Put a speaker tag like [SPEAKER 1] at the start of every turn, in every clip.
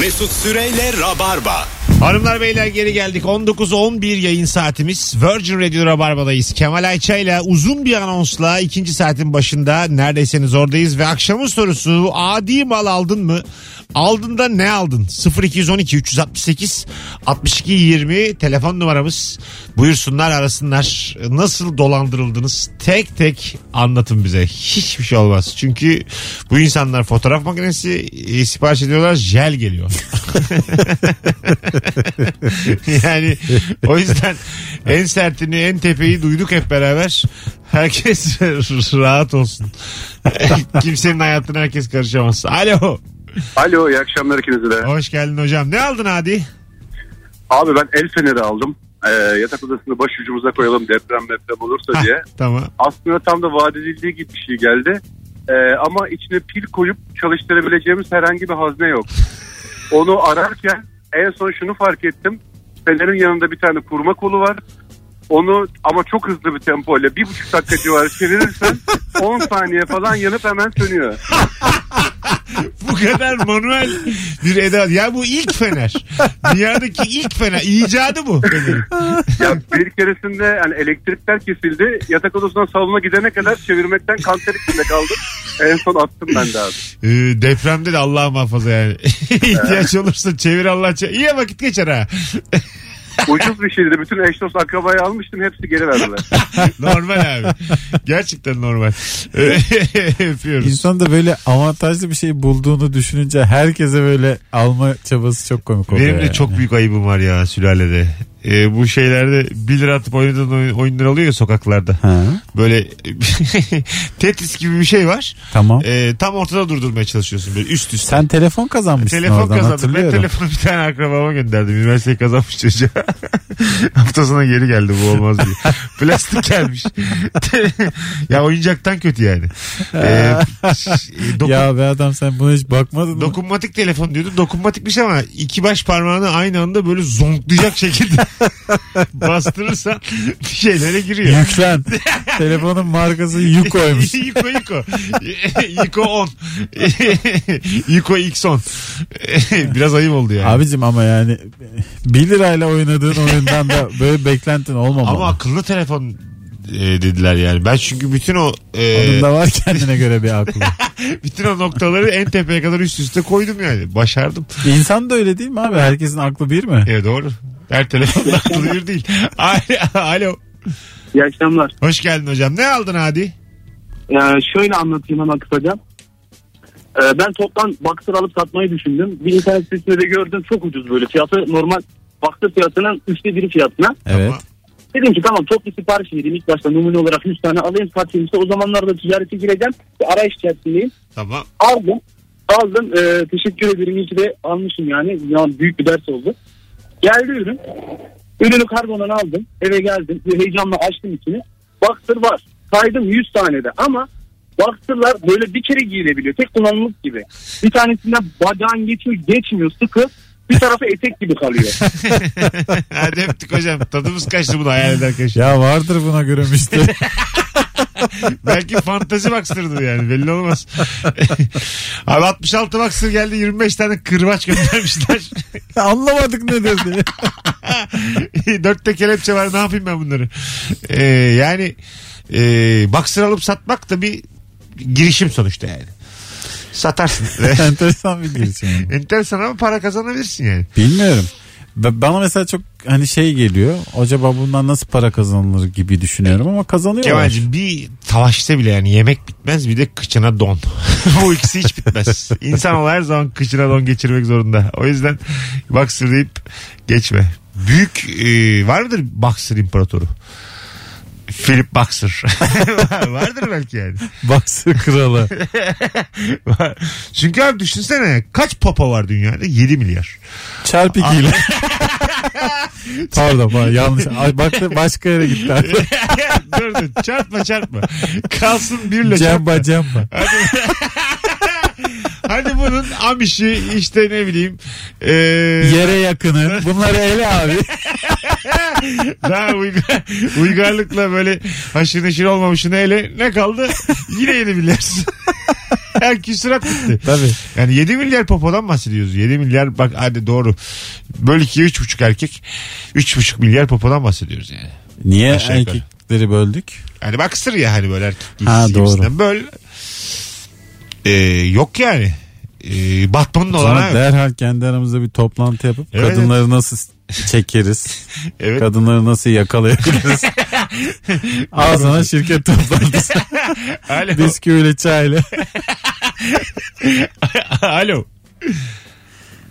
[SPEAKER 1] Mesut Süreyle Rabarba.
[SPEAKER 2] Hanımlar beyler geri geldik. 19.11 yayın saatimiz. Virgin Radio Rabarba'dayız. Kemal Ayça ile uzun bir anonsla ikinci saatin başında neredeyseniz oradayız. Ve akşamın sorusu adi mal aldın mı? Aldın da ne aldın? 0212 368 62 20 telefon numaramız. Buyursunlar arasınlar. Nasıl dolandırıldınız? Tek tek anlatın bize. Hiçbir şey olmaz. Çünkü bu insanlar fotoğraf makinesi e, sipariş ediyorlar. Jel geliyor. yani o yüzden en sertini en tepeyi duyduk hep beraber. Herkes rahat olsun. Kimsenin hayatına herkes karışamaz. Alo.
[SPEAKER 3] Alo iyi akşamlar ikinize de.
[SPEAKER 2] Hoş geldin hocam. Ne aldın Adi?
[SPEAKER 3] Abi ben el feneri aldım. Ee, yatak odasını baş ucumuza koyalım deprem deprem olursa diye.
[SPEAKER 2] Hah, tamım.
[SPEAKER 3] Aslında tam da vaat edildiği gibi bir şey geldi. Ee, ama içine pil koyup çalıştırabileceğimiz herhangi bir hazne yok. Onu ararken en son şunu fark ettim. Fenerin yanında bir tane kurma kolu var. Onu ama çok hızlı bir tempoyla bir buçuk dakika civarı çevirirsen 10 saniye falan yanıp hemen sönüyor.
[SPEAKER 2] Bu kadar manuel bir edat. Ya bu ilk fener. Dünyadaki ilk fener. İcadı bu. Fenerin.
[SPEAKER 3] Ya bir keresinde yani elektrikler kesildi. Yatak odasından salona gidene kadar çevirmekten kan ter içinde kaldım. En son attım ben de abi.
[SPEAKER 2] Ee, depremde de Allah muhafaza yani. İhtiyaç olursa çevir Allah çevir. İyi vakit geçer ha.
[SPEAKER 3] Ucuz bir şeydi. Bütün eş dost akrabayı almıştım. Hepsi geri verdiler.
[SPEAKER 2] normal abi. Gerçekten normal. Ee, Öpüyoruz.
[SPEAKER 4] İnsan da böyle avantajlı bir şey bulduğunu düşününce herkese böyle alma çabası çok komik oluyor.
[SPEAKER 2] Benim de
[SPEAKER 4] yani.
[SPEAKER 2] çok büyük ayıbım var ya sülalede. Ee, bu şeylerde 1 lira atıp oynadığın oyun- oyunlar oluyor ya sokaklarda.
[SPEAKER 4] Ha,
[SPEAKER 2] Böyle Tetris gibi bir şey var.
[SPEAKER 4] tamam.
[SPEAKER 2] Ee, tam ortada durdurmaya çalışıyorsun böyle üst üste.
[SPEAKER 4] Sen telefon kazanmışsın
[SPEAKER 2] Telefon
[SPEAKER 4] oradan
[SPEAKER 2] kazandım. Ben
[SPEAKER 4] hatırlıyorum.
[SPEAKER 2] telefonu bir tane akrabama gönderdim. Üniversiteyi kazanmış çocuğa. Haftasına geri geldi bu olmaz diye. Plastik gelmiş. ya oyuncaktan kötü yani. Ee, dokun-
[SPEAKER 4] Ya be adam sen buna hiç bakmadın mı?
[SPEAKER 2] Dokunmatik telefon diyordu. Dokunmatikmiş ama iki baş parmağını aynı anda böyle zonklayacak şekilde bastırırsan bir şeylere giriyor.
[SPEAKER 4] Yüklen. Telefonun markası yük koymuş.
[SPEAKER 2] Yiko Yiko. Yiko 10. Yiko X10. Biraz ayıp oldu yani.
[SPEAKER 4] Abicim ama yani 1 lirayla oynadığın oyundan da böyle beklentin olmamalı.
[SPEAKER 2] Ama
[SPEAKER 4] Ama
[SPEAKER 2] akıllı telefon e, dediler yani. Ben çünkü bütün o e,
[SPEAKER 4] Onun da var kendine göre bir aklı.
[SPEAKER 2] bütün o noktaları en tepeye kadar üst üste koydum yani. Başardım.
[SPEAKER 4] İnsan da öyle değil mi abi? Herkesin aklı bir mi?
[SPEAKER 2] Evet doğru. Her telefonda akıllı bir değil. Alo- Alo.
[SPEAKER 5] İyi akşamlar.
[SPEAKER 2] Hoş geldin hocam. Ne aldın Hadi?
[SPEAKER 5] Ee, şöyle anlatayım hemen kısaca. Ee, ben toptan baksır alıp satmayı düşündüm. Bir internet sitesinde de gördüm çok ucuz böyle. Fiyatı normal baksır fiyatının üçte biri fiyatına.
[SPEAKER 4] Evet.
[SPEAKER 2] Ama-
[SPEAKER 5] Dedim ki tamam toplu sipariş vereyim. İlk başta numune olarak 100 tane alayım satayım. İşte o zamanlarda ticarete gireceğim. Bir arayış içerisindeyim.
[SPEAKER 2] Tamam.
[SPEAKER 5] Aldım. Aldım. Ee, teşekkür ederim. İyi ki de almışım yani. yani. Büyük bir ders oldu. Geldi ürün. Ürünü kargodan aldım. Eve geldim. Bir heyecanla açtım içini. Baktır var. Saydım 100 tane de ama baktırlar böyle bir kere giyilebiliyor. Tek kullanımlık gibi. Bir tanesinden bacağın geçiyor geçmiyor sıkı. Bir tarafı etek gibi kalıyor.
[SPEAKER 2] Hadi öptük hocam. Tadımız kaçtı bunu hayal ederken. şimdi.
[SPEAKER 4] Ya vardır buna göre şey. müşteri.
[SPEAKER 2] Belki fantazi baksırdı yani belli olmaz. Abi 66 baksır geldi 25 tane kırbaç göndermişler.
[SPEAKER 4] Anlamadık nedir diye.
[SPEAKER 2] Dört de kelepçe var ne yapayım ben bunları. Ee, yani e, baksır alıp satmak da bir girişim sonuçta yani. Satarsın.
[SPEAKER 4] Enteresan bir girişim. ama.
[SPEAKER 2] Enteresan ama para kazanabilirsin yani.
[SPEAKER 4] Bilmiyorum. Ba- Bana mesela çok hani şey geliyor. Acaba bundan nasıl para kazanılır gibi düşünüyorum ama kazanıyorlar.
[SPEAKER 2] Kemal'cim bir savaşta bile yani yemek bitmez bir de kıçına don. Bu ikisi hiç bitmez. İnsan her zaman kıçına don geçirmek zorunda. O yüzden boxer deyip geçme. Büyük e, var mıdır boxer imparatoru? Philip Boxer. Vardır belki yani.
[SPEAKER 4] Baksı kralı.
[SPEAKER 2] Var. Çünkü abi düşünsene kaç papa var dünyada? 7 milyar.
[SPEAKER 4] Çarp ikiyle. Pardon pardon yanlış. Ay, baktı başka yere gitti. abi.
[SPEAKER 2] dur dur çarpma çarpma. Kalsın birle çarpma.
[SPEAKER 4] Cemba cemba.
[SPEAKER 2] Hadi bunun amişi işte ne bileyim. E,
[SPEAKER 4] Yere yakını. Bunları ele abi.
[SPEAKER 2] Daha uygar, uygarlıkla böyle haşır neşir olmamışın hele ne kaldı? Yine yedi milyar. Küsurat gitti.
[SPEAKER 4] Tabii.
[SPEAKER 2] Yani 7 milyar popodan bahsediyoruz. 7 milyar bak hadi doğru. Böl 2'ye 3,5 erkek. 3,5 milyar popodan bahsediyoruz yani.
[SPEAKER 4] Niye
[SPEAKER 2] Aşağı yukarı.
[SPEAKER 4] erkekleri böldük?
[SPEAKER 2] Hani bak sır ya hani böyle erkek giysisi
[SPEAKER 4] Ha, doğru.
[SPEAKER 2] gibisinden. Böyle Ee, yok yani. Ee, Batman'ın olanağı
[SPEAKER 4] Sonra
[SPEAKER 2] yok.
[SPEAKER 4] derhal kendi aramızda bir toplantı yapıp
[SPEAKER 2] Evet.
[SPEAKER 4] kadınları nasıl çekeriz?
[SPEAKER 2] Evet.
[SPEAKER 4] Kadınları nasıl yakalayabiliriz? Al sana şirket toplantısı.
[SPEAKER 2] Alo.
[SPEAKER 4] Bisküviyle çayla.
[SPEAKER 2] Alo.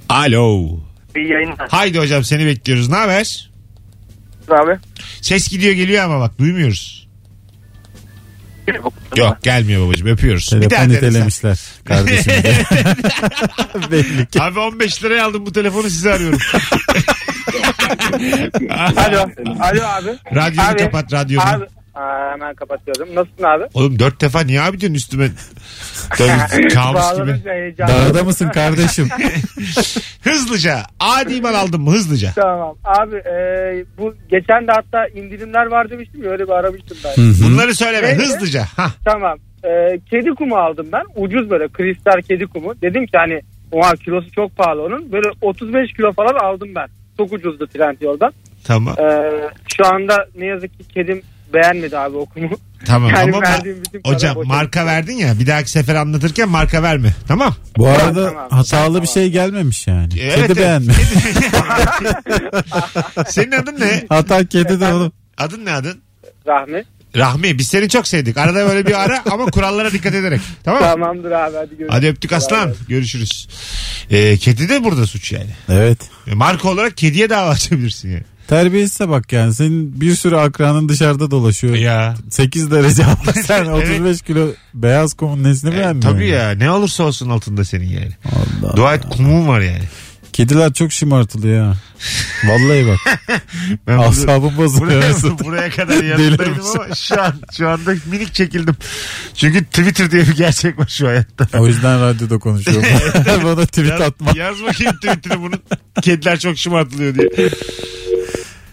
[SPEAKER 2] Alo.
[SPEAKER 6] İyi yayınlar.
[SPEAKER 2] Haydi hocam seni bekliyoruz. Ne haber?
[SPEAKER 6] Abi.
[SPEAKER 2] Ses gidiyor geliyor ama bak duymuyoruz. Yok gelmiyor babacığım öpüyoruz. Bir daha
[SPEAKER 4] Telefon
[SPEAKER 2] denesen.
[SPEAKER 4] itelemişler kardeşim. Belli ki.
[SPEAKER 2] Abi 15 liraya aldım bu telefonu size arıyorum.
[SPEAKER 6] Alo. Alo abi.
[SPEAKER 2] Radyonu
[SPEAKER 6] Abi.
[SPEAKER 2] kapat radyonu.
[SPEAKER 6] Abi. Aa, hemen kapatıyorum. Nasılsın abi?
[SPEAKER 2] Oğlum dört defa niye abi diyorsun üstüme? Tabii kabus gibi.
[SPEAKER 6] Bağlanınca heyecanlı.
[SPEAKER 4] Dağda mısın kardeşim?
[SPEAKER 2] Hızlıca. Adi mal aldım mı hızlıca?
[SPEAKER 6] Tamam. Abi e, bu geçen de hatta indirimler var demiştim ya öyle bir aramıştım ben.
[SPEAKER 2] Bunları söyleme
[SPEAKER 6] Neydi?
[SPEAKER 2] hızlıca. Hah.
[SPEAKER 6] Tamam. E, kedi kumu aldım ben. Ucuz böyle kristal kedi kumu. Dedim ki hani oha kilosu çok pahalı onun. Böyle 35 kilo falan aldım ben. Çok ucuzdu Trendyol'dan.
[SPEAKER 2] Tamam.
[SPEAKER 6] E, şu anda ne yazık ki kedim beğenmedi abi o kumu.
[SPEAKER 2] Tamam
[SPEAKER 6] Yani
[SPEAKER 2] ama
[SPEAKER 6] verdiğim bütün para
[SPEAKER 2] hocam
[SPEAKER 6] boşa
[SPEAKER 2] marka
[SPEAKER 6] gitti.
[SPEAKER 2] verdin ya bir dahaki sefer anlatırken marka verme. Tamam.
[SPEAKER 4] Bu
[SPEAKER 6] Tamam,
[SPEAKER 4] arada
[SPEAKER 6] tamam.
[SPEAKER 4] hatalı
[SPEAKER 6] Tamam.
[SPEAKER 4] bir şey gelmemiş yani.
[SPEAKER 2] Evet,
[SPEAKER 4] Kedi
[SPEAKER 2] evet.
[SPEAKER 4] beğenme.
[SPEAKER 2] Senin adın ne?
[SPEAKER 4] Hata kedi de oğlum.
[SPEAKER 2] Adın ne adın?
[SPEAKER 6] Rahmi.
[SPEAKER 2] Rahmi biz seni çok sevdik. Arada böyle bir ara ama kurallara dikkat ederek. Tamam mı?
[SPEAKER 6] Tamamdır abi hadi görüşürüz.
[SPEAKER 2] Hadi öptük aslan. Görüşürüz. Ee, kedi de burada suç yani. E,
[SPEAKER 4] Evet.
[SPEAKER 2] Marka olarak kediye dava açabilirsin yani.
[SPEAKER 4] Terbiyesize bak yani. Senin bir sürü akranın dışarıda dolaşıyor.
[SPEAKER 2] Ya.
[SPEAKER 4] 8 derece ama sen
[SPEAKER 2] Evet.
[SPEAKER 4] 35 kilo beyaz kumun nesini
[SPEAKER 2] E,
[SPEAKER 4] beğenmiyorsun?
[SPEAKER 2] tabii ya ne olursa olsun altında senin yani. Dua et kumun var yani.
[SPEAKER 4] Kediler çok şımartılıyor ha. Vallahi bak.
[SPEAKER 2] Ben burada-
[SPEAKER 4] Asabım bozuluyor.
[SPEAKER 2] buraya,
[SPEAKER 4] Mesut.
[SPEAKER 2] buraya kadar
[SPEAKER 4] Deli
[SPEAKER 2] yanındaydım
[SPEAKER 4] misin?
[SPEAKER 2] ama şu an şu anda minik çekildim. Çünkü Twitter diye bir gerçek var şu hayatta.
[SPEAKER 4] o yüzden radyoda konuşuyorum. Bana tweet
[SPEAKER 2] Yaz,
[SPEAKER 4] atma.
[SPEAKER 2] yaz bakayım Twitter'ı bunun. Kediler çok şımartılıyor diye.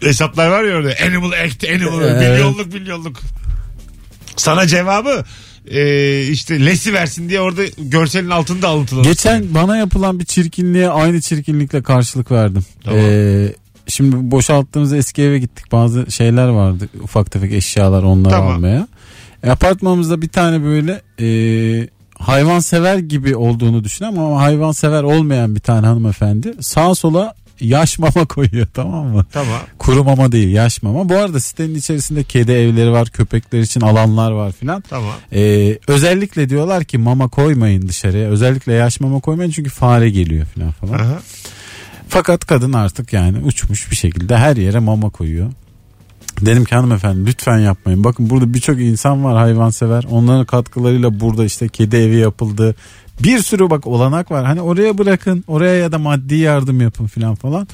[SPEAKER 2] Hesaplar var ya orada. Animal Act, Animal Act.
[SPEAKER 4] Evet.
[SPEAKER 2] Milyonluk milyonluk. Sana cevabı e, işte lesi versin diye orada görselin altında alıntılı.
[SPEAKER 4] Geçen bana yapılan bir çirkinliğe aynı çirkinlikle karşılık verdim.
[SPEAKER 2] Tamam.
[SPEAKER 4] Ee, şimdi boşalttığımız eski eve gittik. Bazı şeyler vardı. Ufak tefek eşyalar onları
[SPEAKER 2] Tamam.
[SPEAKER 4] almaya. E, apartmanımızda bir tane böyle e, hayvan sever gibi olduğunu düşün ama hayvan sever olmayan bir tane hanımefendi sağa sola yaş mama koyuyor tamam mı?
[SPEAKER 2] Tamam.
[SPEAKER 4] Kuru mama değil yaş mama. Bu arada sitenin içerisinde kedi evleri var, köpekler için alanlar var filan.
[SPEAKER 2] Tamam.
[SPEAKER 4] Ee, özellikle diyorlar ki mama koymayın dışarıya. Özellikle yaş mama koymayın çünkü fare geliyor falan falan.
[SPEAKER 2] Aha.
[SPEAKER 4] Fakat kadın artık yani uçmuş bir şekilde her yere mama koyuyor. Dedim ki hanımefendi lütfen yapmayın. Bakın burada birçok insan var hayvansever. Onların katkılarıyla burada işte kedi evi yapıldı. Bir sürü bak olanak var. Hani oraya bırakın oraya ya da maddi yardım yapın filan falan.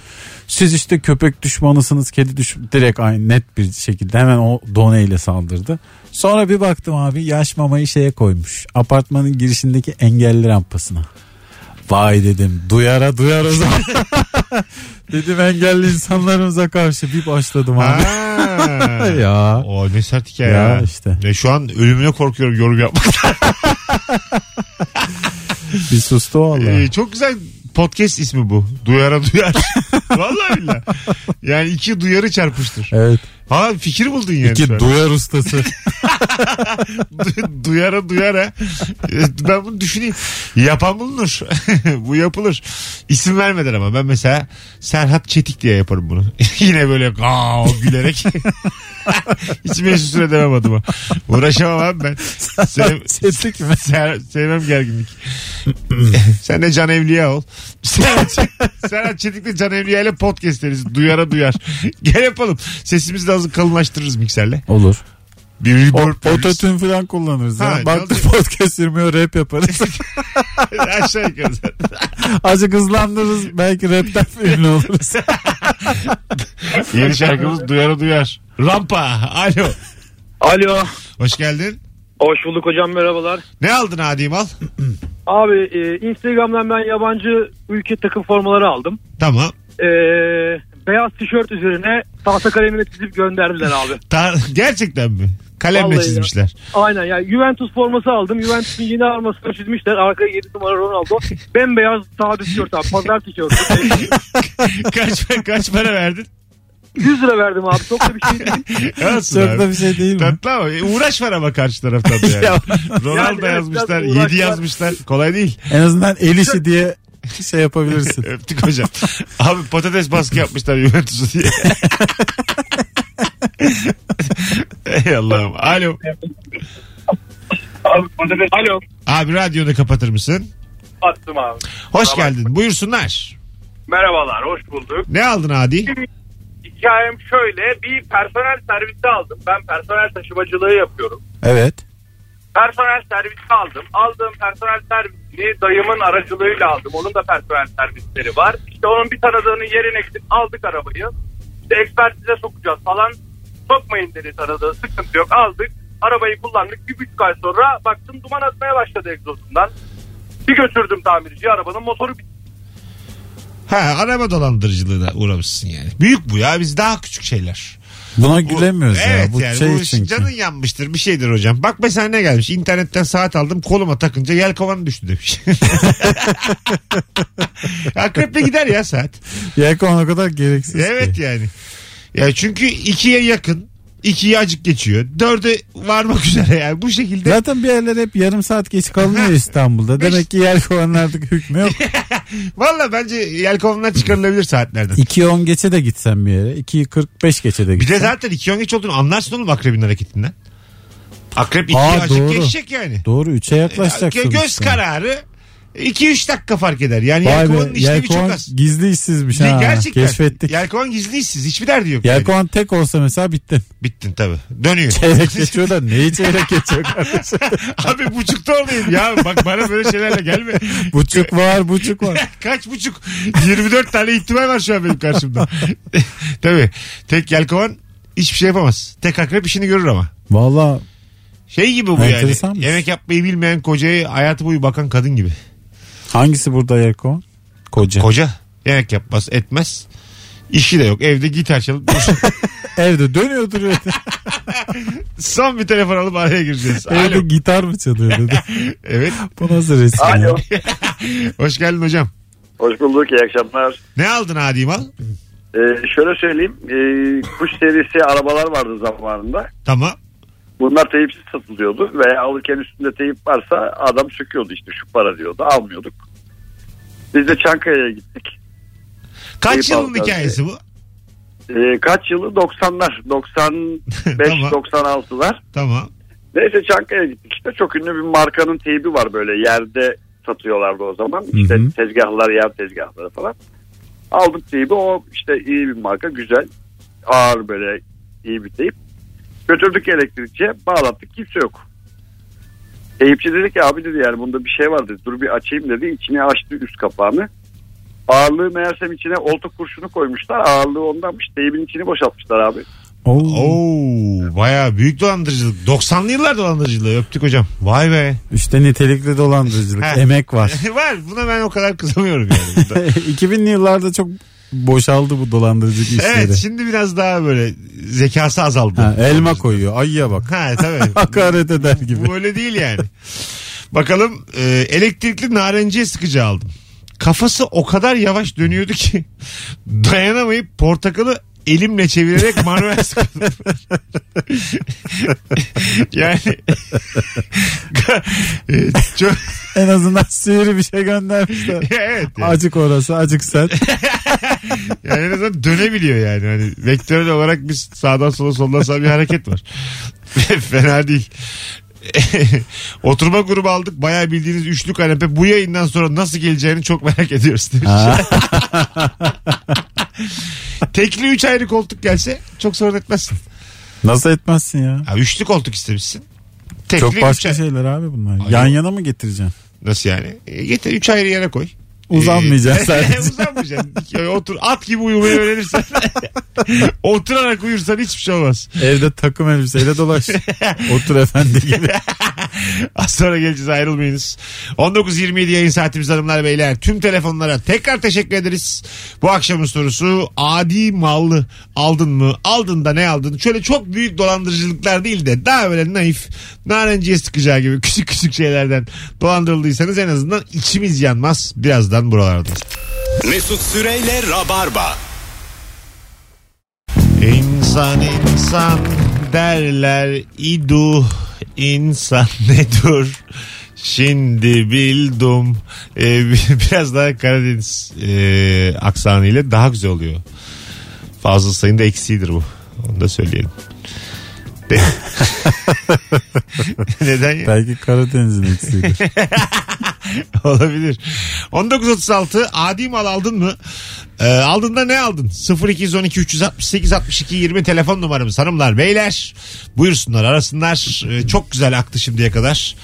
[SPEAKER 4] Siz işte köpek düşmanısınız kedi düş direkt aynı net bir şekilde hemen o doneyle saldırdı. Sonra bir baktım abi yaş mamayı şeye koymuş. Apartmanın girişindeki engelli rampasına. Vay dedim duyara duyar o zaman. dedim engelli insanlarımıza karşı bir başladım abi.
[SPEAKER 2] Ha.
[SPEAKER 4] ya.
[SPEAKER 2] O ne sert hikaye ya.
[SPEAKER 4] Ya işte.
[SPEAKER 2] Ve şu an ölümüne korkuyorum yorum yapmak.
[SPEAKER 4] Bir sustu valla.
[SPEAKER 2] Ee, çok güzel podcast ismi bu. Duyara duyar. Vallahi billahi. Yani iki duyarı çarpıştır.
[SPEAKER 4] Evet.
[SPEAKER 2] Ha fikir buldun yani.
[SPEAKER 4] İki
[SPEAKER 2] şu an.
[SPEAKER 4] duyar ustası.
[SPEAKER 2] Du- duyara duyara. Ee, ben bunu düşüneyim. Yapan bulunur. bu yapılır. İsim vermeden ama ben mesela Serhat Çetik diye yaparım bunu. Yine böyle gaao gülerek. Hiç mesut süre demem adıma. Uğraşamam abi ben. Sev,
[SPEAKER 4] Çetik mi?
[SPEAKER 2] Ser- sevmem gerginlik. Sen de Can Evliya ol. Serhat, Serhat Çetik de Can Evliya ile podcast deriz. Duyara duyar. Gel yapalım. Sesimizi de azı kalınlaştırırız mikserle.
[SPEAKER 4] Olur.
[SPEAKER 2] Bir reverb veririz.
[SPEAKER 4] Ototün falan kullanırız.
[SPEAKER 2] Ha,
[SPEAKER 4] ya. Baktık
[SPEAKER 2] yalnız-
[SPEAKER 4] podcast yürümüyor rap yaparız.
[SPEAKER 2] Aşağı yukarı.
[SPEAKER 4] Azıcık hızlandırırız. Belki rapten ünlü oluruz.
[SPEAKER 2] Yeni şarkımız Duyara Duyar. Rampa. Alo.
[SPEAKER 5] Alo.
[SPEAKER 2] Hoş geldin.
[SPEAKER 5] Hoş bulduk hocam merhabalar.
[SPEAKER 2] Ne aldın Adi Mal?
[SPEAKER 5] Abi e, Instagram'dan ben yabancı ülke takım formaları aldım.
[SPEAKER 2] Tamam.
[SPEAKER 5] E, beyaz tişört üzerine tahta kalemle çizip gönderdiler abi.
[SPEAKER 2] Ta- Gerçekten mi? Kalemle
[SPEAKER 7] Vallahi ya.
[SPEAKER 2] çizmişler.
[SPEAKER 7] Aynen ya Juventus forması aldım. Juventus'un yeni armasını çizmişler. Arkaya 7 numara Ronaldo. Bembeyaz sağ tişört abi. Pazar tişörtü.
[SPEAKER 2] kaç, kaç para verdin?
[SPEAKER 7] 100 lira verdim abi. Çok da bir şey değil.
[SPEAKER 2] Olsun
[SPEAKER 4] Çok
[SPEAKER 2] abi.
[SPEAKER 4] da bir şey değil mi?
[SPEAKER 2] Tatlı ama e, uğraş var ama karşı taraftan da yani.
[SPEAKER 4] Ya.
[SPEAKER 2] Ronaldo
[SPEAKER 7] Yani
[SPEAKER 2] yazmışlar,
[SPEAKER 7] biraz uğraş
[SPEAKER 2] 7
[SPEAKER 7] var.
[SPEAKER 2] yazmışlar. Kolay değil.
[SPEAKER 4] En azından el işi diye şey yapabilirsin.
[SPEAKER 2] Öptük hocam. Abi patates baskı yapmışlar Juventus'u diye. Ey Allah'ım. Alo.
[SPEAKER 1] Abi, burada bir- Alo.
[SPEAKER 2] Abi radyonu kapatır mısın?
[SPEAKER 1] Attım abi.
[SPEAKER 2] Hoş geldin. Buyursunlar.
[SPEAKER 1] Merhabalar hoş bulduk.
[SPEAKER 2] Ne aldın Adi?
[SPEAKER 1] Hikayem şöyle bir personel servisi aldım. Ben personel taşımacılığı yapıyorum.
[SPEAKER 4] Evet.
[SPEAKER 1] Personel servisi aldım. Aldığım personel servisini dayımın aracılığıyla aldım. Onun da personel servisleri var. İşte onun bir tanıdığının yerine gidip aldık arabayı. İşte ekspertize sokacağız falan. Sokmayın dedi tanıdığı. Sıkıntı yok. Aldık. Arabayı kullandık. Bir buçuk ay sonra baktım duman atmaya başladı egzozundan. Bir götürdüm tamirciye arabanın motoru bitti.
[SPEAKER 2] Ha araba dolandırıcılığına uğramışsın yani. Büyük bu ya biz daha küçük şeyler.
[SPEAKER 4] Buna
[SPEAKER 2] Bu-
[SPEAKER 4] gülemiyoruz
[SPEAKER 2] evet
[SPEAKER 4] ya. Bu
[SPEAKER 2] yani
[SPEAKER 4] şey
[SPEAKER 2] bu
[SPEAKER 4] çünkü.
[SPEAKER 2] canın yanmıştır bir şeydir hocam. Bak mesela ne gelmiş internetten saat aldım koluma takınca yelkovan düştü demiş. Akreple gider ya saat.
[SPEAKER 4] Yelkovan o kadar gereksiz ki.
[SPEAKER 2] Evet yani. Ya çünkü ikiye yakın. ikiyi acık geçiyor. Dörde varmak üzere yani bu şekilde.
[SPEAKER 4] Zaten bir yerler hep yarım saat geç kalınıyor İstanbul'da. Demek ki yelkovanın artık hükmü yok.
[SPEAKER 2] Valla bence yelkovanlar çıkarılabilir saatlerden.
[SPEAKER 4] 2.10 geçe de gitsen bir yere. 2.45 geçe de
[SPEAKER 2] Bir de
[SPEAKER 4] gitsen.
[SPEAKER 2] zaten iki yön geç olduğunu anlarsın oğlum akrebin hareketinden. Akrep ikiye
[SPEAKER 4] Aa,
[SPEAKER 2] acık
[SPEAKER 4] doğru.
[SPEAKER 2] geçecek yani.
[SPEAKER 4] Doğru 3'e yaklaşacak.
[SPEAKER 2] Gö- Göz
[SPEAKER 4] sonuçta.
[SPEAKER 2] kararı 2-3 dakika fark eder. Yani
[SPEAKER 4] Vay
[SPEAKER 2] yelkovanın
[SPEAKER 4] be,
[SPEAKER 2] işlevi çok
[SPEAKER 4] yelkovan
[SPEAKER 2] az.
[SPEAKER 4] gizli işsizmiş ha.
[SPEAKER 2] Gerçekten.
[SPEAKER 4] Keşfettik.
[SPEAKER 2] Yelkovan gizli işsiz. Hiçbir derdi yok. yani.
[SPEAKER 4] Yelkovan tek olsa mesela bittin.
[SPEAKER 2] Bittin tabii. Dönüyor.
[SPEAKER 4] Çeyrek geçiyor da neyi çeyrek geçiyor kardeşim?
[SPEAKER 2] Abi buçukta oradayım ya. Bak bana böyle şeylerle gelme.
[SPEAKER 4] buçuk var buçuk var.
[SPEAKER 2] Kaç buçuk? 24 tane ihtimal var şu an benim karşımda. Tabii. Tek yelkovan hiçbir şey yapamaz. Tek akrep işini görür ama.
[SPEAKER 4] Valla
[SPEAKER 2] Şey gibi bu yani.
[SPEAKER 4] Enteresanmış.
[SPEAKER 2] Yemek yapmayı bilmeyen kocaya hayatı boyu bakan kadın gibi.
[SPEAKER 4] hangisi burada yelkovan? Koca.
[SPEAKER 2] Koca yemek yapmaz etmez. İşi de yok. Evde gitar çalıp dursun.
[SPEAKER 4] Evde dönüyor duruyor.
[SPEAKER 2] Son bir telefon alıp araya gireceğiz.
[SPEAKER 4] Evde
[SPEAKER 2] Alo.
[SPEAKER 4] gitar mı çalıyor dedi.
[SPEAKER 2] Evet.
[SPEAKER 4] Bu nasıl resim? ya?
[SPEAKER 8] Alo.
[SPEAKER 2] Hoş geldin hocam.
[SPEAKER 8] Hoş bulduk. iyi akşamlar.
[SPEAKER 2] Ne aldın Adi mal?
[SPEAKER 8] Ee, şöyle söyleyeyim. Ee, kuş serisi arabalar vardı zamanında.
[SPEAKER 2] Tamam.
[SPEAKER 8] Bunlar teyipsiz satılıyordu. Veya alırken üstünde teyip varsa adam söküyordu işte şu para diyordu. Almıyorduk. Biz de Çankaya'ya gittik.
[SPEAKER 2] Kaç
[SPEAKER 8] Eyüp
[SPEAKER 2] yılın
[SPEAKER 8] Alkan
[SPEAKER 2] hikayesi bu?
[SPEAKER 8] Ee, kaç yılı? 90'lar. 95,
[SPEAKER 2] Tamam.
[SPEAKER 8] 96'lar.
[SPEAKER 2] Tamam.
[SPEAKER 8] Neyse Çankaya'ya gittik işte. Çok ünlü bir markanın teybi var böyle yerde satıyorlardı o zaman.
[SPEAKER 4] hı.
[SPEAKER 8] İşte tezgahlar yer tezgahları falan. Aldık teybi o işte iyi bir marka güzel ağır böyle iyi bir teyp. Götürdük elektrikçiye bağlattık kimse yok. Teyipçi dedi ki abi dedi yani bunda bir şey var dedi dur bir açayım dedi içine açtı üst kapağını. Ağırlığı meğersem içine olta kurşunu koymuşlar ağırlığı ondanmış teybin içini boşaltmışlar abi.
[SPEAKER 4] Oo.
[SPEAKER 2] Oo, bayağı büyük dolandırıcılık. 90'lı yıllar dolandırıcılığı öptük hocam. Vay be.
[SPEAKER 4] İşte nitelikli dolandırıcılık.
[SPEAKER 2] Ha.
[SPEAKER 4] Emek var.
[SPEAKER 2] Var buna ben o kadar kızamıyorum yani. Burada.
[SPEAKER 4] 2000'li yıllarda çok boşaldı bu dolandırıcılık işleri.
[SPEAKER 2] evet şimdi biraz daha böyle zekası azaldı.
[SPEAKER 4] Ha, elma koyuyor. Ayıya bak.
[SPEAKER 2] Ha tabii.
[SPEAKER 4] Hakaret eder gibi.
[SPEAKER 2] Bu öyle değil yani. Bakalım e, elektrikli narenciye sıkıcı aldım. Kafası o kadar yavaş dönüyordu ki dayanamayıp portakalı elimle çevirerek manuel sıkıyordum. yani E, çok
[SPEAKER 4] En azından sivri bir şey göndermişler.
[SPEAKER 2] evet. Yani.
[SPEAKER 4] Acık orası acık sen.
[SPEAKER 2] yani en azından dönebiliyor yani. Hani vektörel olarak biz sağdan sola soldan sağa bir hareket var. Fena değil. Oturma grubu aldık. Bayağı bildiğiniz üçlü kanepe. Bu yayından sonra nasıl geleceğini çok merak ediyoruz demiş. Tekli üç ayrı koltuk gelse çok sorun etmezsin.
[SPEAKER 4] Nasıl etmezsin ya?
[SPEAKER 2] Ha, üçlü koltuk istemişsin. Tekli
[SPEAKER 4] Çok
[SPEAKER 2] üç
[SPEAKER 4] başka
[SPEAKER 2] ay-
[SPEAKER 4] şeyler abi bunlar.
[SPEAKER 2] şey. Ay,
[SPEAKER 4] Yan
[SPEAKER 2] yok.
[SPEAKER 4] yana mı getireceksin?
[SPEAKER 2] Nasıl yani? E, getir üç ayrı yere koy.
[SPEAKER 4] Uzanmayacaksın sadece.
[SPEAKER 2] Uzanmayacaksın. İki- Ee, Otur at gibi uyumayı öğrenirsen. Oturarak uyursan hiçbir şey olmaz.
[SPEAKER 4] Evde takım elbiseyle dolaş. Otur efendi gibi.
[SPEAKER 2] Az sonra geleceğiz ayrılmayınız. 19.27 yayın saatimiz hanımlar beyler. Tüm telefonlara tekrar teşekkür ederiz. Bu akşamın sorusu adi mallı aldın mı? Aldın da ne aldın? Şöyle çok büyük dolandırıcılıklar değil de daha böyle naif narenciye sıkacağı gibi küçük küçük şeylerden dolandırıldıysanız en azından içimiz yanmaz. Birazdan buralarda.
[SPEAKER 1] Mesut Süreyle Rabarba.
[SPEAKER 2] İnsan insan derler idu insan nedir? Şimdi bildim. Ee, biraz daha Karadeniz e, aksanıyla daha güzel oluyor. Fazla sayında eksiğidir bu. Onu da söyleyelim. De- Neden ya?
[SPEAKER 4] Belki Karadeniz'in eksiğidir.
[SPEAKER 2] Olabilir. 1936 adi mal aldın mı? Ee, aldın da ne aldın? 0212 368 62 20 telefon numaramız hanımlar beyler. Buyursunlar arasınlar. Ee, çok güzel aktı şimdiye kadar.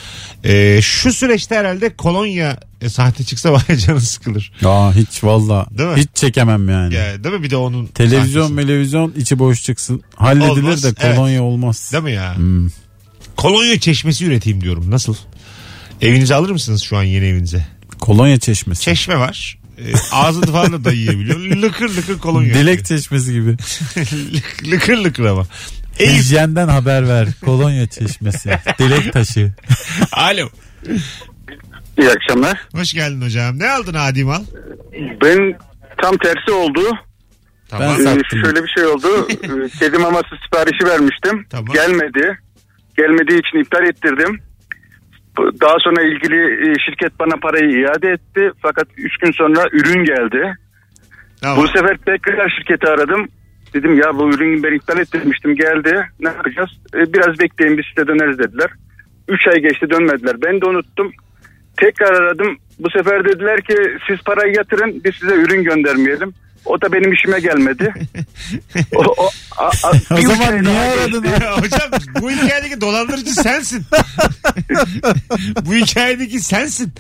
[SPEAKER 2] Ee, şu süreçte herhalde kolonya e, sahte çıksa bayağı canı sıkılır.
[SPEAKER 4] ya hiç valla.
[SPEAKER 2] Değil mi?
[SPEAKER 4] Hiç çekemem yani.
[SPEAKER 2] Ya, değil mi bir de onun
[SPEAKER 4] Televizyon,
[SPEAKER 2] sahtesi.
[SPEAKER 4] televizyon içi boş çıksın. Halledilir
[SPEAKER 2] Olmaz,
[SPEAKER 4] de
[SPEAKER 2] evet.
[SPEAKER 4] kolonya olmaz.
[SPEAKER 2] Değil mi ya?
[SPEAKER 4] Hmm.
[SPEAKER 2] Kolonya çeşmesi üreteyim diyorum. Nasıl? Evinize alır mısınız şu an yeni evinize?
[SPEAKER 4] Kolonya çeşmesi.
[SPEAKER 2] Çeşme var. Ee, ağzını falan da dayayabiliyor. Lıkır lıkır kolonya.
[SPEAKER 4] Dilek çeşmesi gibi.
[SPEAKER 2] Lık- lıkır lıkır ama. Eyüp.
[SPEAKER 4] Hijyenden haber ver. Kolonya çeşmesi. Dilek taşı.
[SPEAKER 2] Alo.
[SPEAKER 9] İyi akşamlar.
[SPEAKER 2] Hoş geldin hocam. Ne aldın Adi Mal?
[SPEAKER 9] Ben tam tersi oldu.
[SPEAKER 2] Tamam.
[SPEAKER 4] Ben-
[SPEAKER 9] Ee,
[SPEAKER 4] Sattım.
[SPEAKER 9] Şöyle bir şey oldu. Ee, Kedi maması siparişi vermiştim.
[SPEAKER 2] Tamam.
[SPEAKER 9] Gelmedi. Gelmediği için iptal ettirdim. Bu- Daha sonra ilgili e, şirket bana parayı iade etti. Fakat 3 gün sonra ürün geldi.
[SPEAKER 2] Tamam.
[SPEAKER 9] Bu sefer tekrar şirketi aradım. Dedim ya bu ürünü ben iptal ettirmiştim geldi. Ne yapacağız? E, biraz bekleyin biz size döneriz dediler. 3 ay geçti dönmediler. Ben de unuttum. Tekrar aradım. Bu sefer dediler ki siz parayı yatırın biz size ürün göndermeyelim. O da benim işime gelmedi. o, o- a- a-
[SPEAKER 4] O
[SPEAKER 9] bir
[SPEAKER 4] zaman
[SPEAKER 9] şey
[SPEAKER 4] niye
[SPEAKER 9] daha
[SPEAKER 4] aradın?
[SPEAKER 9] geçti.
[SPEAKER 2] hocam bu hikayedeki dolandırıcı sensin. bu hikayedeki sensin.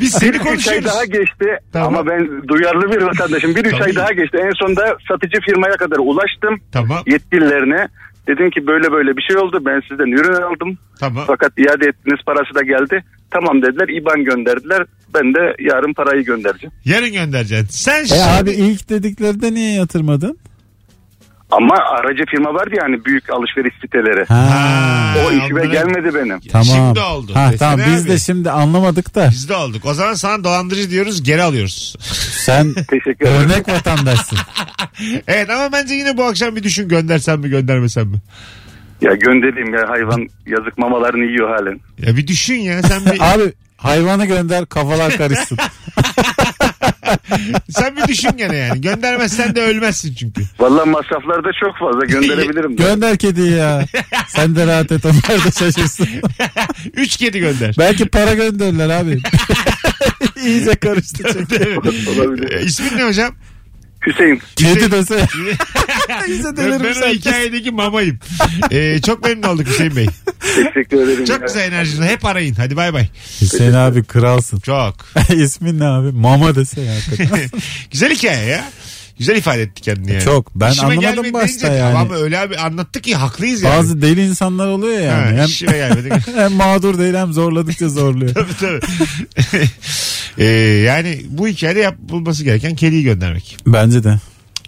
[SPEAKER 2] Biz seni
[SPEAKER 9] Bir üç ay
[SPEAKER 2] konuşuyoruz.
[SPEAKER 9] daha geçti
[SPEAKER 2] Tamam.
[SPEAKER 9] ama ben duyarlı bir vatandaşım. Bir üç
[SPEAKER 2] Tabii.
[SPEAKER 9] ay daha geçti. En sonunda satıcı firmaya kadar ulaştım.
[SPEAKER 2] Tamam
[SPEAKER 9] yetkililerine dedim ki böyle böyle bir şey oldu ben sizden ürün aldım
[SPEAKER 2] tamam.
[SPEAKER 9] fakat iade ettiniz parası da geldi tamam dediler IBAN gönderdiler ben de yarın parayı göndereceğim
[SPEAKER 2] Yarın göndereceksin. Sen
[SPEAKER 4] E
[SPEAKER 2] şimdi-
[SPEAKER 4] abi ilk dediklerinde niye yatırmadın?
[SPEAKER 9] ama aracı firma vardı yani büyük alışveriş siteleri
[SPEAKER 2] Ha,
[SPEAKER 9] o işime
[SPEAKER 2] onlara-
[SPEAKER 9] gelmedi benim
[SPEAKER 4] Tamam.
[SPEAKER 2] Şimdi oldu.
[SPEAKER 4] Ha,
[SPEAKER 2] Desene
[SPEAKER 4] tamam biz
[SPEAKER 2] abi.
[SPEAKER 4] de şimdi anlamadık da
[SPEAKER 2] Biz de olduk. O zaman sana dolandırıcı diyoruz geri alıyoruz.
[SPEAKER 4] sen
[SPEAKER 9] teşekkür ederim
[SPEAKER 4] örnek vatandaşsın.
[SPEAKER 2] evet ama bence yine bu akşam bir düşün göndersen mi göndermesen mi?
[SPEAKER 9] ya göndereyim ya hayvan yazık mamalarını yiyor halen
[SPEAKER 2] Ya bir düşün ya sen bir
[SPEAKER 4] abi hayvanı gönder kafalar karışsın.
[SPEAKER 2] sen bir düşün gene yani. Göndermezsen de ölmezsin çünkü.
[SPEAKER 9] Vallahi masraflar da çok fazla gönderebilirim de.
[SPEAKER 4] gönder kediyi ya. Sen de rahat et onlar da şaşırsın.
[SPEAKER 2] Üç kedi gönder.
[SPEAKER 4] Belki para gönderirler abi. İyice karıştı. çok.
[SPEAKER 9] Olabilir.
[SPEAKER 2] E, İsmin ne hocam?
[SPEAKER 9] Hüseyin
[SPEAKER 2] Şey-
[SPEAKER 4] Kedi dese. İyice
[SPEAKER 2] Ben, ben
[SPEAKER 4] deliririm
[SPEAKER 2] o
[SPEAKER 4] sen.
[SPEAKER 2] hikayedeki mamayım. E, çok memnun olduk Hüseyin Bey.
[SPEAKER 9] teşekkür ederim
[SPEAKER 2] Çok
[SPEAKER 9] ya.
[SPEAKER 2] güzel enerjiniz. Hep arayın. Hadi bay bay.
[SPEAKER 4] Hüseyin abi kralsın.
[SPEAKER 2] Çok.
[SPEAKER 4] İsmin ne abi? Mama dese ya. hakikaten.
[SPEAKER 2] güzel hikaye ya. Güzel ifade etti kendini yani.
[SPEAKER 4] Çok. Ben
[SPEAKER 2] İşime
[SPEAKER 4] anlamadım
[SPEAKER 2] gelmedi
[SPEAKER 4] başta
[SPEAKER 2] deyince,
[SPEAKER 4] yani.
[SPEAKER 2] Tamam öyle abi anlattık ki haklıyız yani.
[SPEAKER 4] Bazı deli insanlar oluyor
[SPEAKER 2] Ha,
[SPEAKER 4] yani. hem,
[SPEAKER 2] işime gelmedi.
[SPEAKER 4] hem mağdur değil hem zorladıkça zorluyor.
[SPEAKER 2] Tabii, tabii. E, yani bu hikayede yapılması gereken kediyi göndermek.
[SPEAKER 4] Bence de.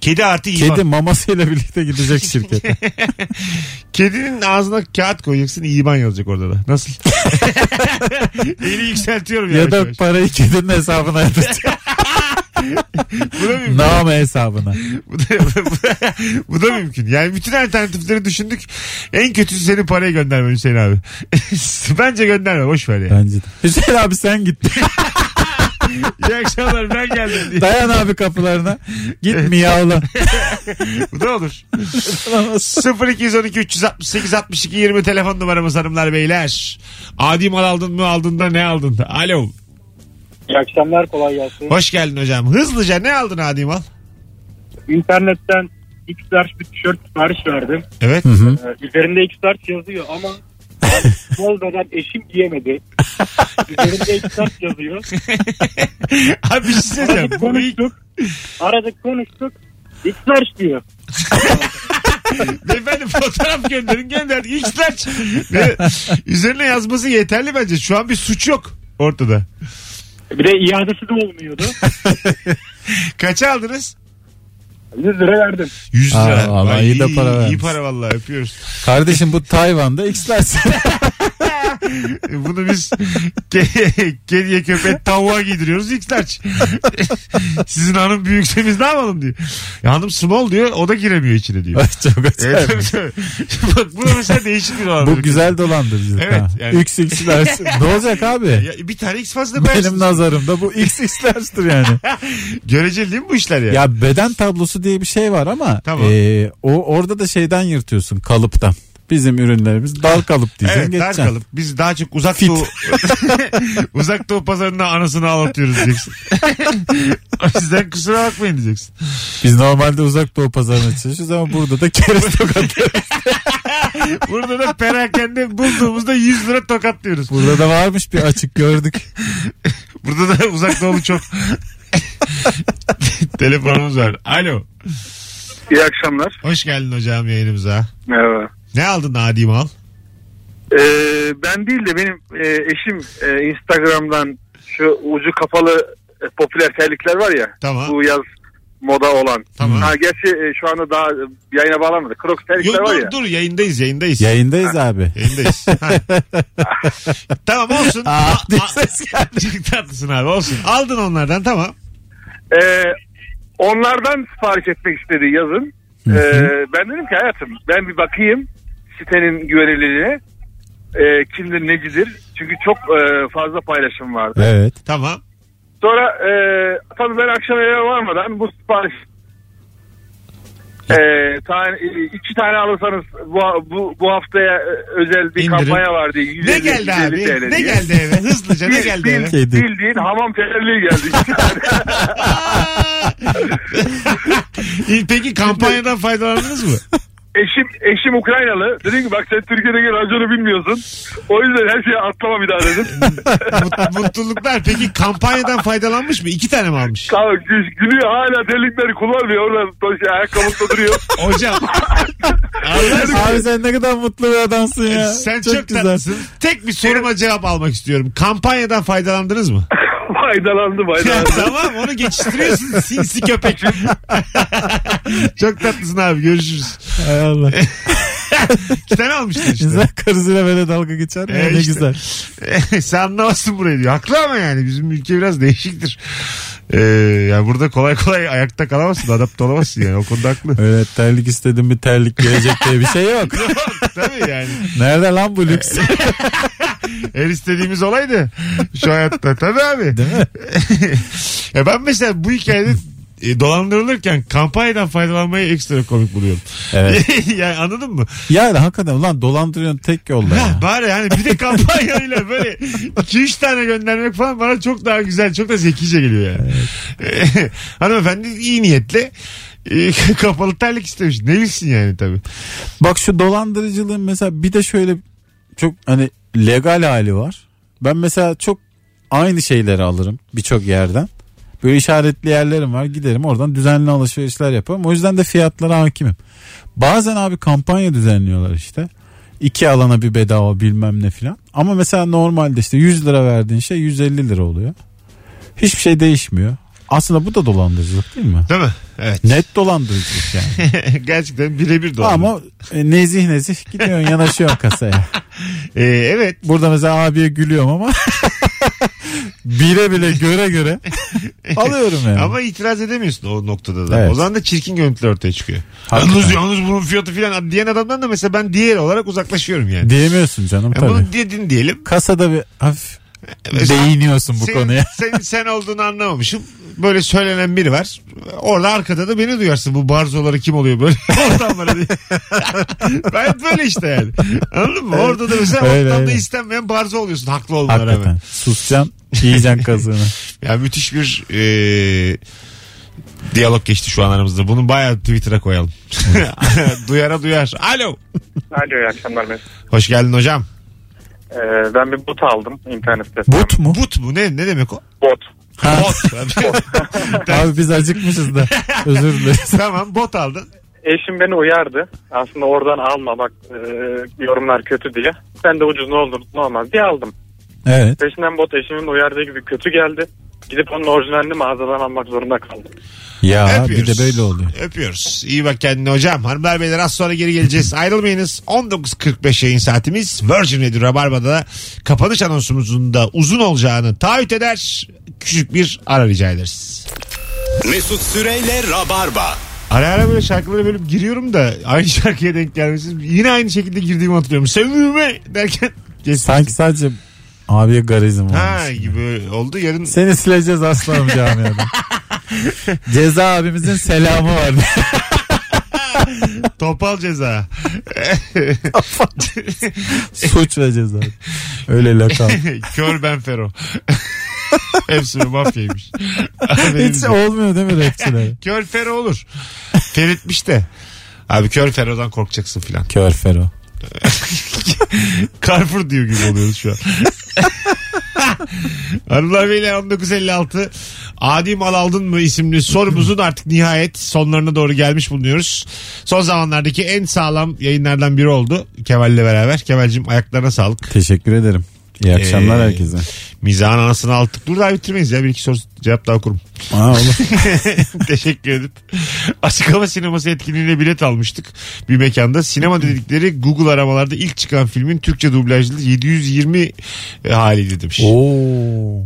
[SPEAKER 2] Kedi artı iman.
[SPEAKER 4] Kedi mamasıyla birlikte gidecek şirkete.
[SPEAKER 2] Kedinin ağzına kağıt koyacaksın iman yazacak orada da. Nasıl? Eli yükseltiyorum
[SPEAKER 4] ya
[SPEAKER 2] yavaş
[SPEAKER 4] da
[SPEAKER 2] yavaş.
[SPEAKER 4] parayı kedinin hesabına yatıracak.
[SPEAKER 2] Bu da mümkün.
[SPEAKER 4] Name hesabına.
[SPEAKER 2] Bu da, bu da mümkün. Yani bütün alternatifleri düşündük. En kötüsü senin parayı göndermen Hüseyin abi. Bence gönderme boş ver ya.
[SPEAKER 4] Bence de. Hüseyin abi sen git.
[SPEAKER 2] İyi akşamlar ben geldim diye.
[SPEAKER 4] Dayan abi kapılarına. Git miyavla.
[SPEAKER 2] Bu da olur. 0212 368 62 20 telefon numaramız hanımlar beyler. Adi mal aldın mı aldın da ne aldın? da? Alo.
[SPEAKER 6] İyi akşamlar kolay gelsin.
[SPEAKER 2] Hoş geldin hocam. Hızlıca ne aldın adi mal?
[SPEAKER 6] İnternetten x bir tişört sipariş verdim.
[SPEAKER 2] Evet.
[SPEAKER 6] Ee, üzerinde x yazıyor ama ben bol beden eşim giyemedi. üzerinde x yazıyor.
[SPEAKER 2] Abi bir şey söyleyeceğim.
[SPEAKER 6] Aradık konuştuk. Aradık konuştuk. x diyor.
[SPEAKER 2] Beyefendi fotoğraf gönderin gönderdik. X'ler. Ve üzerine yazması yeterli bence. Şu an bir suç yok ortada.
[SPEAKER 5] Bir de iadesi de olmuyordu.
[SPEAKER 2] Kaça aldınız?
[SPEAKER 5] 100 lira verdim.
[SPEAKER 2] 100
[SPEAKER 4] Aa,
[SPEAKER 2] lira.
[SPEAKER 4] vallahi
[SPEAKER 2] Vay,
[SPEAKER 4] iyi de para
[SPEAKER 2] İyi
[SPEAKER 4] vermiş.
[SPEAKER 2] para vallahi öpüyoruz.
[SPEAKER 4] Kardeşim bu Tayvan'da X'ler.
[SPEAKER 2] E, Bunu biz ke- kediye köpek tavuğa giydiriyoruz X'ler. Sizin hanım büyükse biz ne yapalım diyor. Ya hanım small diyor o da giremiyor içine diyor.
[SPEAKER 4] Çok
[SPEAKER 2] Evet,
[SPEAKER 4] acayip.
[SPEAKER 2] tabii, tabii. Bak bu da mesela değişik bir olabilir.
[SPEAKER 4] Bu güzel dolandırıcılık.
[SPEAKER 2] Evet,
[SPEAKER 4] ha.
[SPEAKER 2] yani.
[SPEAKER 4] XX'ler. ne olacak abi?
[SPEAKER 2] Ya, bir tane X fazla
[SPEAKER 4] Benim
[SPEAKER 2] koyarsın.
[SPEAKER 4] nazarımda bu XX'ler'dir yani.
[SPEAKER 2] Göreceli değil mi bu işler ya?
[SPEAKER 4] ya beden tablosu diye bir şey var ama
[SPEAKER 2] Tamam.
[SPEAKER 4] e, o orada da şeyden yırtıyorsun kalıptan. Bizim ürünlerimiz dal kalıp diyeceksin
[SPEAKER 2] Evet dar
[SPEAKER 4] geçeceksin.
[SPEAKER 2] kalıp. Biz daha çok uzak
[SPEAKER 4] Fit.
[SPEAKER 2] doğu uzak doğu pazarına anasını ağlatıyoruz diyeceksin. o yüzden kusura bakmayın diyeceksin.
[SPEAKER 4] Biz normalde uzak doğu pazarına çalışıyoruz ama burada da keres tokatlıyoruz.
[SPEAKER 2] Burada da perakende bulduğumuzda 100 lira tokatlıyoruz.
[SPEAKER 4] burada da varmış bir açık gördük.
[SPEAKER 2] Burada da uzak doğulu çok. Telefonumuz var. Alo.
[SPEAKER 3] İyi akşamlar.
[SPEAKER 2] Hoş geldin hocam yayınımıza.
[SPEAKER 3] Merhaba.
[SPEAKER 2] Ne aldın Adi Mal?
[SPEAKER 3] Ee, ben değil de benim e, eşim e, Instagram'dan şu ucu kapalı e, popüler terlikler var ya.
[SPEAKER 2] Tamam.
[SPEAKER 3] Bu yaz moda olan.
[SPEAKER 2] Tamam.
[SPEAKER 3] Ha, gerçi e, şu anda daha e, yayına bağlanmadı. Crocs terlikler
[SPEAKER 2] Yok,
[SPEAKER 3] var
[SPEAKER 2] dur,
[SPEAKER 3] ya.
[SPEAKER 2] dur yayındayız yayındayız.
[SPEAKER 4] Yayındayız abi.
[SPEAKER 2] Yayındayız. Ha. tamam olsun.
[SPEAKER 4] Aa, diye ses
[SPEAKER 2] Çok tatlısın abi olsun. Aldın onlardan tamam.
[SPEAKER 3] Ee, onlardan sipariş etmek istedi yazın. Ee, ben dedim ki hayatım ben bir bakayım sitenin güvenilirliğine. Ee, kimdir necidir? Çünkü çok e, fazla paylaşım vardı.
[SPEAKER 4] Evet.
[SPEAKER 2] Tamam.
[SPEAKER 3] Sonra e, tabii ben akşam eve varmadan bu sipariş e, tane, e, iki tane alırsanız bu, bu, bu haftaya e, özel bir
[SPEAKER 2] İndirim.
[SPEAKER 3] kampanya vardı. 150,
[SPEAKER 2] Ne geldi
[SPEAKER 3] 150
[SPEAKER 2] abi?
[SPEAKER 3] TL
[SPEAKER 2] Ne
[SPEAKER 3] diye.
[SPEAKER 2] geldi eve? Hızlıca ne
[SPEAKER 3] Bil-
[SPEAKER 2] geldi
[SPEAKER 3] bil-
[SPEAKER 2] eve?
[SPEAKER 4] Kedi.
[SPEAKER 3] Bildiğin hamam terliği geldi. iki tane.
[SPEAKER 2] Aa! İyi, Peki kampanyadan faydalandınız mı?
[SPEAKER 3] Eşim eşim Ukraynalı. Dedim ki bak sen Türkiye'deki raconu bilmiyorsun. O yüzden her şeyi atlama bir daha dedim.
[SPEAKER 2] Mut- Mutluluklar. Peki kampanyadan faydalanmış mı? İki tane mi almış?
[SPEAKER 3] Tamam gü- gülüyor hala delikleri kullanmıyor. Orada doş- ayakkabısında duruyor.
[SPEAKER 2] Hocam. Allah aşkına,
[SPEAKER 4] Abi sen ne kadar mutlu bir adamsın ya.
[SPEAKER 2] E, sen çok, tatlısın. Tek bir soruma cevap almak istiyorum. Kampanyadan faydalandınız mı?
[SPEAKER 3] faydalandım
[SPEAKER 2] Ya,
[SPEAKER 3] faydalandım.
[SPEAKER 2] tamam onu geçiştiriyorsun sinsi köpek. çok tatlısın abi görüşürüz.
[SPEAKER 4] Hay Allah.
[SPEAKER 2] İki tane almıştın işte.
[SPEAKER 4] İnsan karısıyla böyle dalga geçer mi?
[SPEAKER 2] Ee,
[SPEAKER 4] ne
[SPEAKER 2] işte.
[SPEAKER 4] güzel.
[SPEAKER 2] Sen anlamazsın burayı diyor. Haklı ama yani bizim ülke biraz değişiktir. Ee, yani burada kolay kolay ayakta kalamazsın, adapte olamazsın yani. O konuda haklı.
[SPEAKER 4] Evet terlik istedim bir terlik gelecek diye bir şey yok.
[SPEAKER 2] Tabii yani.
[SPEAKER 4] Nerede lan bu
[SPEAKER 2] E,
[SPEAKER 4] lüks?
[SPEAKER 2] Her istediğimiz olaydı şu hayatta. Tabii abi.
[SPEAKER 4] Değil mi?
[SPEAKER 2] Ya ben mesela bu hikayede e, dolandırılırken kampanyadan faydalanmayı ekstra komik buluyorum. e.
[SPEAKER 4] Evet.
[SPEAKER 2] yani anladın mı?
[SPEAKER 4] Yani hakikaten ulan dolandırıyorsun tek yolla.
[SPEAKER 2] Ha,
[SPEAKER 4] ya.
[SPEAKER 2] bari yani bir de kampanyayla böyle 2-3 tane göndermek falan bana çok daha güzel, çok da zekice geliyor yani. Hanımefendi iyi niyetli e, kapalı terlik istemiş. Ne bilsin yani tabii.
[SPEAKER 4] Bak şu dolandırıcılığın mesela bir de şöyle çok hani legal hali var. Ben mesela çok aynı şeyleri alırım birçok yerden. Böyle işaretli yerlerim var giderim oradan düzenli alışverişler yaparım. O yüzden de fiyatlara hakimim. Bazen abi kampanya düzenliyorlar işte. İki alana bir bedava bilmem ne filan. Ama mesela normalde işte 100 lira verdiğin şey 150 lira oluyor. Hiçbir şey değişmiyor. Aslında bu da dolandırıcılık değil mi?
[SPEAKER 2] Değil mi? Evet.
[SPEAKER 4] Net dolandırıcılık yani.
[SPEAKER 2] Gerçekten birebir doğru.
[SPEAKER 4] Ama e, nezih nezih gidiyorsun yanaşıyorsun kasaya.
[SPEAKER 2] E, evet.
[SPEAKER 4] Burada mesela abiye gülüyorum ama bire bile göre göre alıyorum yani.
[SPEAKER 2] Ama itiraz edemiyorsun o noktada da.
[SPEAKER 4] Evet.
[SPEAKER 2] O zaman da çirkin görüntüler ortaya çıkıyor.
[SPEAKER 4] Hakikaten.
[SPEAKER 2] Yalnız yalnız bunun fiyatı filan diyen adamdan da mesela ben diğer olarak uzaklaşıyorum yani.
[SPEAKER 4] Diyemiyorsun canım
[SPEAKER 2] Ya
[SPEAKER 4] tabii.
[SPEAKER 2] bunu dedin diyelim.
[SPEAKER 4] Kasada bir hafif
[SPEAKER 2] Evet.
[SPEAKER 4] değiniyorsun bu
[SPEAKER 2] Senin-
[SPEAKER 4] konuya.
[SPEAKER 2] Senin sen olduğunu anlamamışım. Böyle söylenen biri var. Orada arkada da beni duyarsın. Bu barzoları kim oluyor böyle ortamlara diye. ben hep böyle işte yani. Anladın mı? Orada da mesela
[SPEAKER 4] Öyle,
[SPEAKER 2] ortamda
[SPEAKER 4] öyle.
[SPEAKER 2] istenmeyen barzo oluyorsun haklı olmana
[SPEAKER 4] Hakikaten.
[SPEAKER 2] rağmen.
[SPEAKER 4] Susacaksın yiyeceksin kazığını.
[SPEAKER 2] Ya müthiş bir e, diyalog geçti şu an aramızda. Bunu bayağı Twitter'a koyalım. Duyara duyar. Alo.
[SPEAKER 10] Alo iyi akşamlar Mesut.
[SPEAKER 2] Hoş geldin hocam.
[SPEAKER 10] Ee, ben bir bot aldım internet sitesinden.
[SPEAKER 4] But mu?
[SPEAKER 2] But bu ne ne demek o?
[SPEAKER 10] Bot.
[SPEAKER 4] Ha,
[SPEAKER 2] Bot.
[SPEAKER 4] abi biz acıkmışız da. Özür dileriz.
[SPEAKER 2] tamam bot aldın.
[SPEAKER 10] eşim beni uyardı. Aslında oradan alma bak e, yorumlar kötü diye. Ben de ucuz ne olur ne olmaz diye aldım.
[SPEAKER 4] Evet.
[SPEAKER 10] Peşinden bot eşimin uyardığı gibi kötü geldi. Gidip onun orijinalini mağazadan almak zorunda kaldım.
[SPEAKER 4] Ya
[SPEAKER 2] Öpüyoruz.
[SPEAKER 4] bir de böyle oluyor.
[SPEAKER 2] Öpüyoruz. İyi bak kendine hocam. Hanımlar beyler az sonra geri geleceğiz. Ayrılmayınız. 19.45 yayın saatimiz. Virgin Radio Rabarba'da kapanış anonsumuzun da uzun olacağını taahhüt eder. Küçük bir ara rica ederiz.
[SPEAKER 1] Mesut Süreyle Rabarba.
[SPEAKER 2] Ara ara böyle şarkılara bölüp giriyorum da aynı şarkıya denk gelmesi. Yine aynı şekilde girdiğimi hatırlıyorum. Sevgime derken kesin.
[SPEAKER 4] Sanki sadece abiye garizm
[SPEAKER 2] şey. Ha
[SPEAKER 4] varmış.
[SPEAKER 2] gibi oldu. Yarın
[SPEAKER 4] Seni sileceğiz aslanım camiada. Ceza abimizin selamı var.
[SPEAKER 2] topal ceza.
[SPEAKER 4] Suç ve ceza. Öyle lakap.
[SPEAKER 2] Kör ben Fero. Hepsi bir mafyaymış. Haberiniz
[SPEAKER 4] Hiç
[SPEAKER 2] yok.
[SPEAKER 4] olmuyor değil mi rapçilere?
[SPEAKER 2] Kör Fero olur. Feritmiş de. Abi kör Fero'dan korkacaksın filan.
[SPEAKER 4] Kör Fero.
[SPEAKER 2] Carrefour diyor gibi oluyoruz şu an. Hanımlar beyler 1956 Adi Mal Aldın mı isimli sorumuzun artık nihayet sonlarına doğru gelmiş bulunuyoruz. Son zamanlardaki en sağlam yayınlardan biri oldu Kemal'le beraber. Kemal'cim ayaklarına sağlık.
[SPEAKER 4] Teşekkür ederim. İyi akşanlar
[SPEAKER 2] Ee,
[SPEAKER 4] herkese.
[SPEAKER 2] Mizahın anasını aldık. Dur daha bitirmeyiz ya. Bir iki soru cevap daha okurum.
[SPEAKER 4] Aa, olur.
[SPEAKER 2] Teşekkür edip açık hava sineması etkinliğine bilet almıştık bir mekanda. Sinema dedikleri Google aramalarda ilk çıkan filmin Türkçe dublajlı 720 e, haliydi demiş.
[SPEAKER 4] Oo.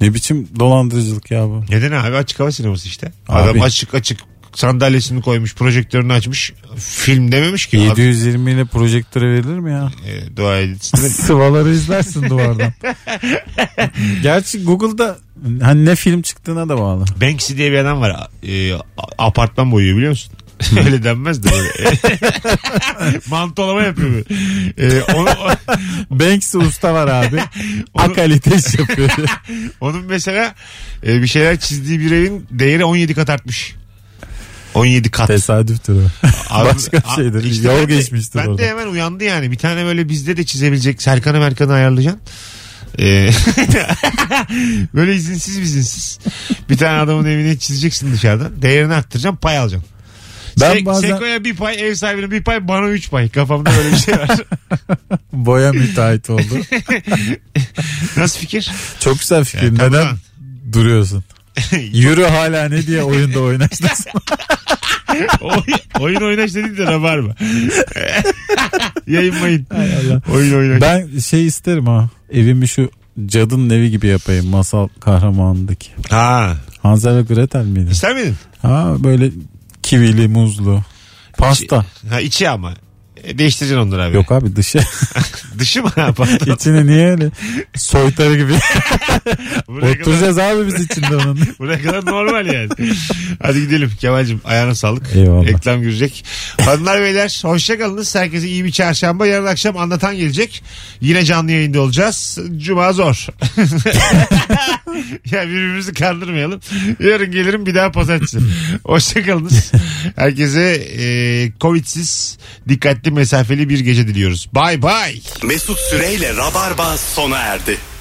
[SPEAKER 4] Ne biçim dolandırıcılık ya bu.
[SPEAKER 2] Neden abi açık hava sineması işte.
[SPEAKER 4] Abi.
[SPEAKER 2] Adam açık açık sandalyesini koymuş, projektörünü açmış. Film dememiş ki. Abi,
[SPEAKER 4] 720 ile projektöre verilir mi ya?
[SPEAKER 2] e, dua edilsin.
[SPEAKER 4] Sıvaları izlersin duvardan. Gerçi Google'da hani ne film çıktığına da bağlı.
[SPEAKER 2] Banksy diye bir adam var. E, a- apartman boyuyor biliyor musun? Öyle denmez de böyle. Mantolama yapıyor. böyle. E, onu,
[SPEAKER 4] Banksy usta var abi. Akalite iş yapıyor.
[SPEAKER 2] Onun mesela e, bir şeyler çizdiği bir evin değeri 17 kat artmış. 17 kat.
[SPEAKER 4] Tesadüftür o.
[SPEAKER 2] Abi-
[SPEAKER 4] Başka
[SPEAKER 2] a-
[SPEAKER 4] şeydir.
[SPEAKER 2] işte
[SPEAKER 4] Yol
[SPEAKER 2] ben de-
[SPEAKER 4] geçmiştir
[SPEAKER 2] Ben
[SPEAKER 4] orada.
[SPEAKER 2] de hemen uyandı yani. Bir tane böyle bizde de çizebilecek Serkan'ı Merkan'ı ayarlayacaksın. E, böyle izinsiz bizinsiz. Bir tane adamın evine çizeceksin dışarıdan. Değerini arttıracaksın pay alacaksın.
[SPEAKER 4] Ben
[SPEAKER 2] Se-
[SPEAKER 4] bazen-
[SPEAKER 2] Seko'ya bir pay, ev sahibine bir pay, bana üç pay. Kafamda böyle bir şey var.
[SPEAKER 4] Boya müteahhit oldu.
[SPEAKER 2] Nasıl fikir?
[SPEAKER 4] Çok güzel fikir.
[SPEAKER 2] Ya,
[SPEAKER 4] Neden
[SPEAKER 2] tamam.
[SPEAKER 4] duruyorsun? Yürü hala ne diye oyunda oynarsın.
[SPEAKER 2] Oy- oyun oynaş dedik de var mı? Yayınmayın. Oyun oynaş.
[SPEAKER 4] ben şey isterim ha. Evimi şu cadının evi gibi yapayım. Masal kahramanındaki.
[SPEAKER 2] Ha.
[SPEAKER 4] Hansel ve Gretel miydi?
[SPEAKER 2] İster miydin?
[SPEAKER 4] Ha böyle kivili, muzlu. Pasta.
[SPEAKER 2] Ha içi ama. E, değiştireceksin onları abi.
[SPEAKER 4] Yok abi dışı.
[SPEAKER 2] Dışı mı? Ha, Pardon.
[SPEAKER 4] İçine niye öyle soytarı gibi.
[SPEAKER 2] Buraya kadar,
[SPEAKER 4] Oturacağız abi biz içinde onun.
[SPEAKER 2] buraya kadar normal yani. Hadi gidelim Kemal'cim ayağına sağlık.
[SPEAKER 4] Eyvallah.
[SPEAKER 2] Reklam girecek. Hanımlar beyler hoşçakalınız. Herkese iyi bir çarşamba. Yarın akşam anlatan gelecek. Yine canlı yayında olacağız. Cuma zor. ya birbirimizi kandırmayalım. Yarın gelirim bir daha pazartesi. Hoşçakalınız. Herkese e, covidsiz dikkatli mesafeli bir gece diliyoruz. Bay bay.
[SPEAKER 1] Mesut Süreyle Rabarba sona erdi.